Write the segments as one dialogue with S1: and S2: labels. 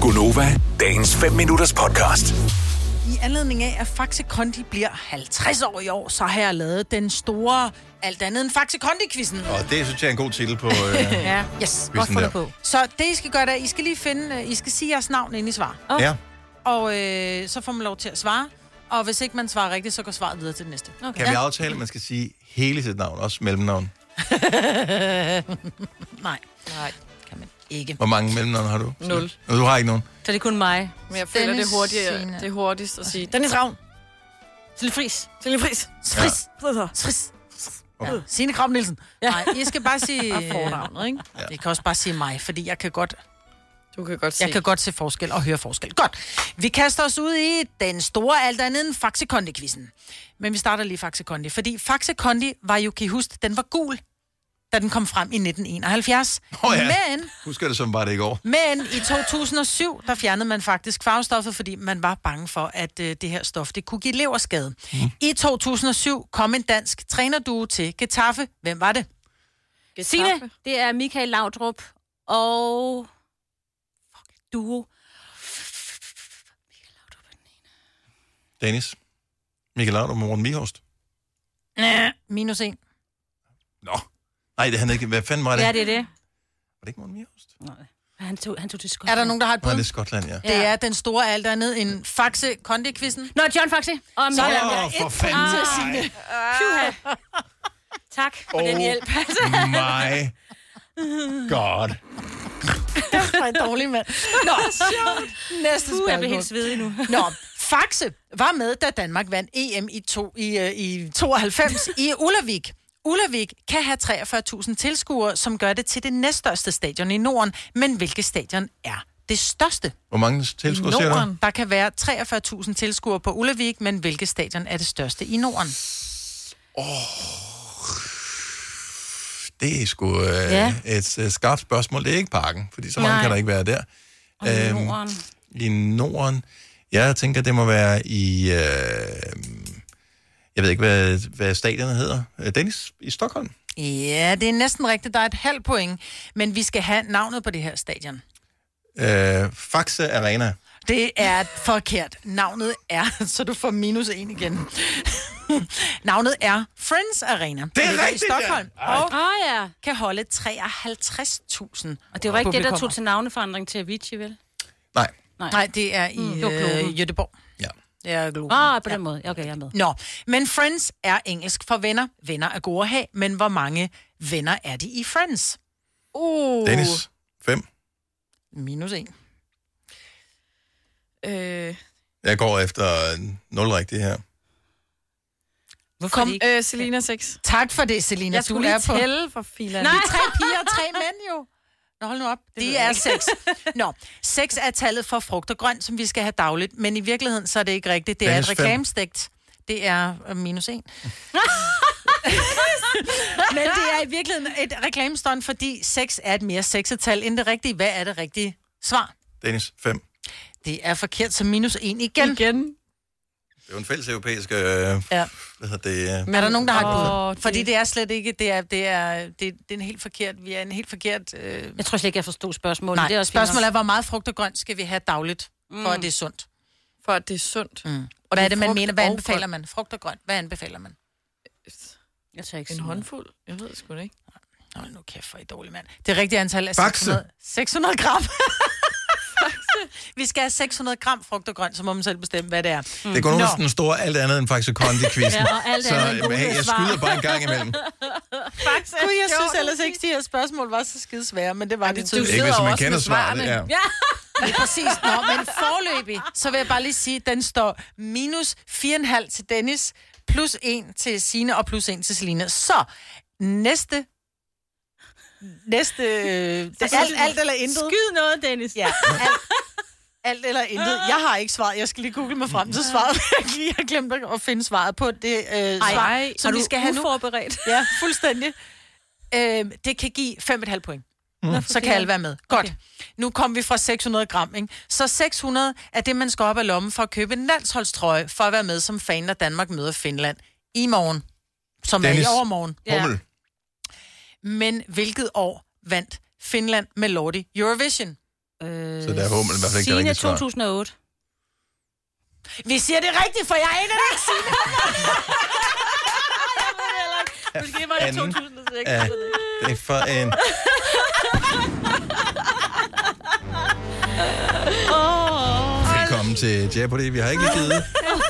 S1: Gunova, dagens 5 minutters podcast.
S2: I anledning af, at Faxe Kondi bliver 50 år i år, så har jeg lavet den store, alt andet end Faxe Kondi-quizzen.
S3: Og det synes jeg er en god titel på... Øh,
S2: Ja, yes.
S3: Quizzen der.
S2: Så det, I skal gøre, det er, I skal lige finde, øh, I skal sige jeres navn ind i svar.
S3: ja.
S2: Og øh, så får man lov til at svare. Og hvis ikke man svarer rigtigt, så går svaret videre til det næste. Okay.
S3: Kan vi aftale, at man skal sige hele sit navn, også mellemnavn?
S2: Nej,
S4: Nej, kan man.
S2: ikke.
S3: Hvor mange mellemnavn har du?
S4: Nul.
S3: Nå, Du har ikke nogen.
S4: Så det er kun mig.
S5: Men jeg føler, det
S2: Dennis
S5: er, hurtigere,
S2: Sina.
S5: det er hurtigst at sige.
S2: Dennis Ravn. Sille Friis.
S5: Til pris.
S2: Friis.
S5: Ja.
S2: Friis. Ja. Signe Kram Nielsen. Ja. Nej, I skal bare sige...
S4: Og fornavnet, ikke?
S2: Ja. I kan også bare sige mig, fordi jeg kan godt
S5: Du kan godt se.
S2: Jeg kan godt se forskel og høre forskel. Godt. Vi kaster os ud i den store alt andet end Faxe kondi -quizzen. Men vi starter lige Faxe Kondi, fordi Faxe Kondi var jo, kan I huske, den var gul, da den kom frem i 1971.
S3: Åh, ja.
S2: Men,
S3: Husker det som bare det i går.
S2: men i 2007, der fjernede man faktisk farvestoffet, fordi man var bange for, at øh, det her stof, det kunne give leverskade. Mm. I 2007 kom en dansk trænerduo til Getafe. Hvem var det?
S4: Signe, det er Michael Laudrup og... Fuck, duo.
S3: Dennis. Michael Laudrup og Morten Mihorst.
S2: Næh, Minus en.
S3: Nå. Nej, det er han ikke. Hvad fanden var det?
S4: Ja, det er det.
S3: Var det ikke Morten Mihorst?
S4: Han tog, han tog til
S2: Er
S4: Skotland.
S2: der nogen, der har et
S3: Nej, det
S2: bud?
S3: er Skotland, ja.
S2: Det er den store alt andet end Faxe kondi -quizzen.
S4: Nå, John Faxe. Om
S2: Sådan.
S4: Sådan.
S3: Åh, for fanden.
S4: Tak for oh. den hjælp.
S3: My God.
S2: Nej, dårlig mand. Nå, næste
S4: Uh, jeg bliver
S2: spørgsmål.
S4: helt svedig nu.
S2: Nå, Faxe var med, da Danmark vandt EM i, to, i, øh, i 92 i Ullavik. Ullavik kan have 43.000 tilskuere, som gør det til det næststørste stadion i Norden. Men hvilket stadion er det største?
S3: Hvor mange tilskuere ser du?
S2: Der kan være 43.000 tilskuere på Ullavik, men hvilket stadion er det største i Norden?
S3: Det er sgu øh,
S4: Ja.
S3: et øh, skarpt spørgsmål. Det er ikke parken, fordi så mange
S4: Nej.
S3: kan der ikke være der. Øhm,
S4: Norden.
S3: I Norden. Jeg tænker, det må være i... Øh, jeg ved ikke, hvad, hvad stadionet hedder. Øh, Dennis i Stockholm.
S2: Ja, det er næsten rigtigt. Der er et halvt point, men vi skal have navnet på det her stadion.
S3: Øh, Faxe Arena.
S2: Det er forkert. Navnet er, så du får minus en igen. Navnet er Friends Arena. Det
S3: rigtigt,
S2: I Stockholm.
S3: ja. Ej.
S2: Og
S4: Åh, oh, ja.
S2: kan holde 53.000.
S4: Og det var ikke det, der
S2: publikummer.
S4: tog til navneforandring til Avicii, vel?
S3: Nej.
S2: Nej, det er i
S5: Mm,
S4: det var Globen.
S2: øh, Göteborg.
S3: Ja.
S2: Det er Globen.
S5: Ah.
S4: Åh, oh, på den måde. Okay, jeg er med.
S2: Nå, men Friends er engelsk for venner. Venner er gode at have, men hvor mange venner er de i Friends? Uh.
S3: Dennis. 5.
S2: Minus en.
S5: Øh,
S3: Jeg går efter 0 rigtigt her.
S4: Hvorfor
S2: Kom,
S4: Kom, ikke?
S5: øh, Selina 6.
S2: Tak for det, Selina.
S5: Jeg
S2: du
S5: skulle
S2: er
S5: lige
S2: på...
S5: tælle for filan.
S2: Vi er tre piger og tre mænd jo. Nå, hold nu op. Det de er seks. Nå, seks er tallet for frugt og grønt, som vi skal have dagligt. Men i virkeligheden, så er det ikke rigtigt. Det er
S3: Minus
S2: et
S3: fem.
S2: reklamestegt. Det er øh, minus en. Men det er i virkeligheden et reklamestånd, fordi seks er et mere sexet tal end det rigtige. Hvad er det rigtige svar?
S3: Dennis. 5. Det
S2: Det er forkert, så minus en igen.
S5: Igen.
S3: er jo en fælles europæisk... Øh, ja. Hvad hedder det? Øh,
S2: Er der nogen, der har
S5: Åh,
S2: et bud?
S5: det-
S2: Fordi det er slet ikke, det er, det er, det, det er en helt forkert, vi er en helt forkert øh,
S4: Jeg tror slet ikke, jeg forstod spørgsmålet.
S2: Nej,
S4: det er også
S2: spørgsmålet er, hvor meget frugt og grønt skal vi have dagligt, for at det er sundt?
S5: For at det er sundt. Mm.
S2: Og hvad er det, man
S5: frugt
S2: mener? Hvad
S5: og
S2: anbefaler
S5: grønt.
S2: man? Frugt og grønt, hvad anbefaler man?
S4: Jeg tager ikke
S5: En
S4: sådan noget.
S5: håndfuld? Jeg ved det sgu da ikke.
S2: Hold nu kæft, for I er dårlig mand. Det rigtige antal er
S3: Faxe.
S2: 600, 600 gram. vi skal have 600 gram frugt og grønt, så må man selv bestemme, hvad det er.
S3: det er kun
S2: Nå.
S3: under den store alt andet end Faxe Kondi-quizzen.
S4: Ja, og alt
S3: så
S4: andet end
S3: øh, hey,
S4: gode
S3: jeg
S4: svar.
S3: skyder bare en gang imellem.
S2: Gud, jeg synes ellers ikke, de her spørgsmål var så skide svære, men det var de tydeligt.
S3: Ikke hvis
S5: sidder
S3: man
S5: også
S3: kender
S5: med
S3: svaret.
S5: svarene.
S3: Ja.
S2: Ja, præcis. Nå, men forløbig, så vil jeg bare lige sige, at den står minus 4,5 til Dennis, plus 1 til Sine og plus 1 til Selina. Så næste... Næste... Øh, det, alt, alt eller intet.
S4: Skyd noget, Dennis.
S2: Ja, alt, alt eller intet. Jeg har ikke svaret. Jeg skal lige google mig frem til svaret. Jeg har lige- Jeg glemte at finde svaret på det øh, svar,
S4: Ej,
S2: som vi skal have nu.
S4: forberedt.
S2: Ja, fuldstændig. Øhm, det kan give 5,5 point. Mm. Så kan alle være med. Godt. Okay. Nu kom vi fra 600 gram, ikke? Så 600 er det, man skal op af lommen for at købe en landsholdstrøje for at være med som fan, når Danmark møder Finland i morgen. Som Dennis.
S3: Dennis.
S2: er i overmorgen.
S3: Hummel.
S2: Men hvilket år vandt Finland med Lordi Eurovision?
S4: Øh,
S3: Så der håber man i hvert fald ikke, det er
S4: Signe
S3: rigtigt svar.
S4: 2008.
S2: Vi siger det rigtigt, for jeg aner det ikke, Signe.
S5: Måske var det
S3: Anden.
S5: 2006.
S3: Ja, det er for en... Velkommen til Jeopardy. Vi har ikke lige givet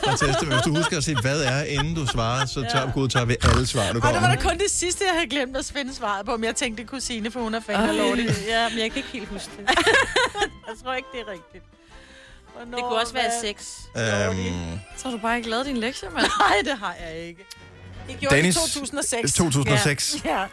S3: at teste, men hvis du husker at se, hvad er, inden du svarer, så tager, god, tager vi alle svar, du
S2: Og det var
S3: kommer.
S2: da kun det sidste, jeg havde glemt at finde svaret på, men jeg tænkte, det kunne Signe, for hun har fængt det.
S4: Ja, men jeg kan ikke helt huske det. jeg tror ikke, det er rigtigt.
S2: Hvornår,
S4: Det kunne også være
S2: hvad?
S4: 6.
S3: Øhm,
S5: Så har du bare ikke lavet din lektie, mand.
S2: Nej, det har jeg ikke. Det gjorde
S3: Dennis,
S2: det i 2006.
S3: 2006.
S2: Ja.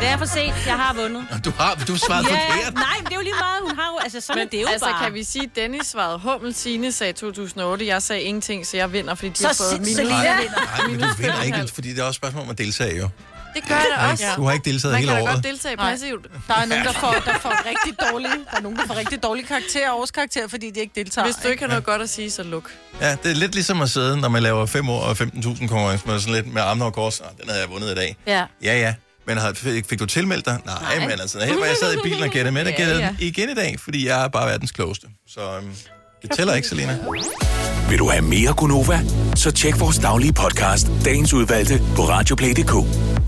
S4: Det er for sent. Jeg har vundet.
S3: Du har du har svaret forkert.
S4: nej, men det er jo lige meget. Hun har jo... Altså, sådan men, er det jo
S5: altså,
S4: bare.
S5: kan vi sige, at Dennis svarede Hummel, Signe sagde 2008, jeg sagde ingenting, så jeg vinder, fordi de
S2: Så
S5: har fået
S2: sind-
S5: min.
S2: Selina
S3: Nej,
S2: vinder.
S3: nej, men du vinder ikke, fordi det er også et spørgsmål om at deltage, jo.
S5: Det gør jeg da også.
S3: Du har ikke deltaget
S5: Man
S3: hele
S5: kan da
S3: året.
S5: godt deltage passivt.
S2: Der er nogen, der får, der får rigtig dårlige, der er nogen, der får rigtig dårlige karakterer og årskarakterer, fordi de ikke deltager.
S5: Hvis du ikke har noget godt at sige, så luk.
S3: Ja, det er lidt ligesom at sidde, når man laver 5 år og 15.000 konkurrence, med sådan lidt med armene over kors. Ah, den havde jeg vundet i dag.
S4: Ja.
S3: Ja, ja. Men har- fik fik du tilmeldt dig? Nej, Nej. men altså, her var jeg sad i bilen og gættede med, der
S5: Ja,
S3: gættede
S5: ja.
S3: ja. igen i dag, fordi jeg er bare verdens klogeste. Så øhm, det tæller ikke, Selina.
S1: Vil du have mere Gunova? Så tjek vores daglige podcast, dagens udvalgte, på radioplay.dk.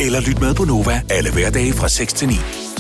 S1: Eller lyt med på Nova alle hverdage fra 6 til 9.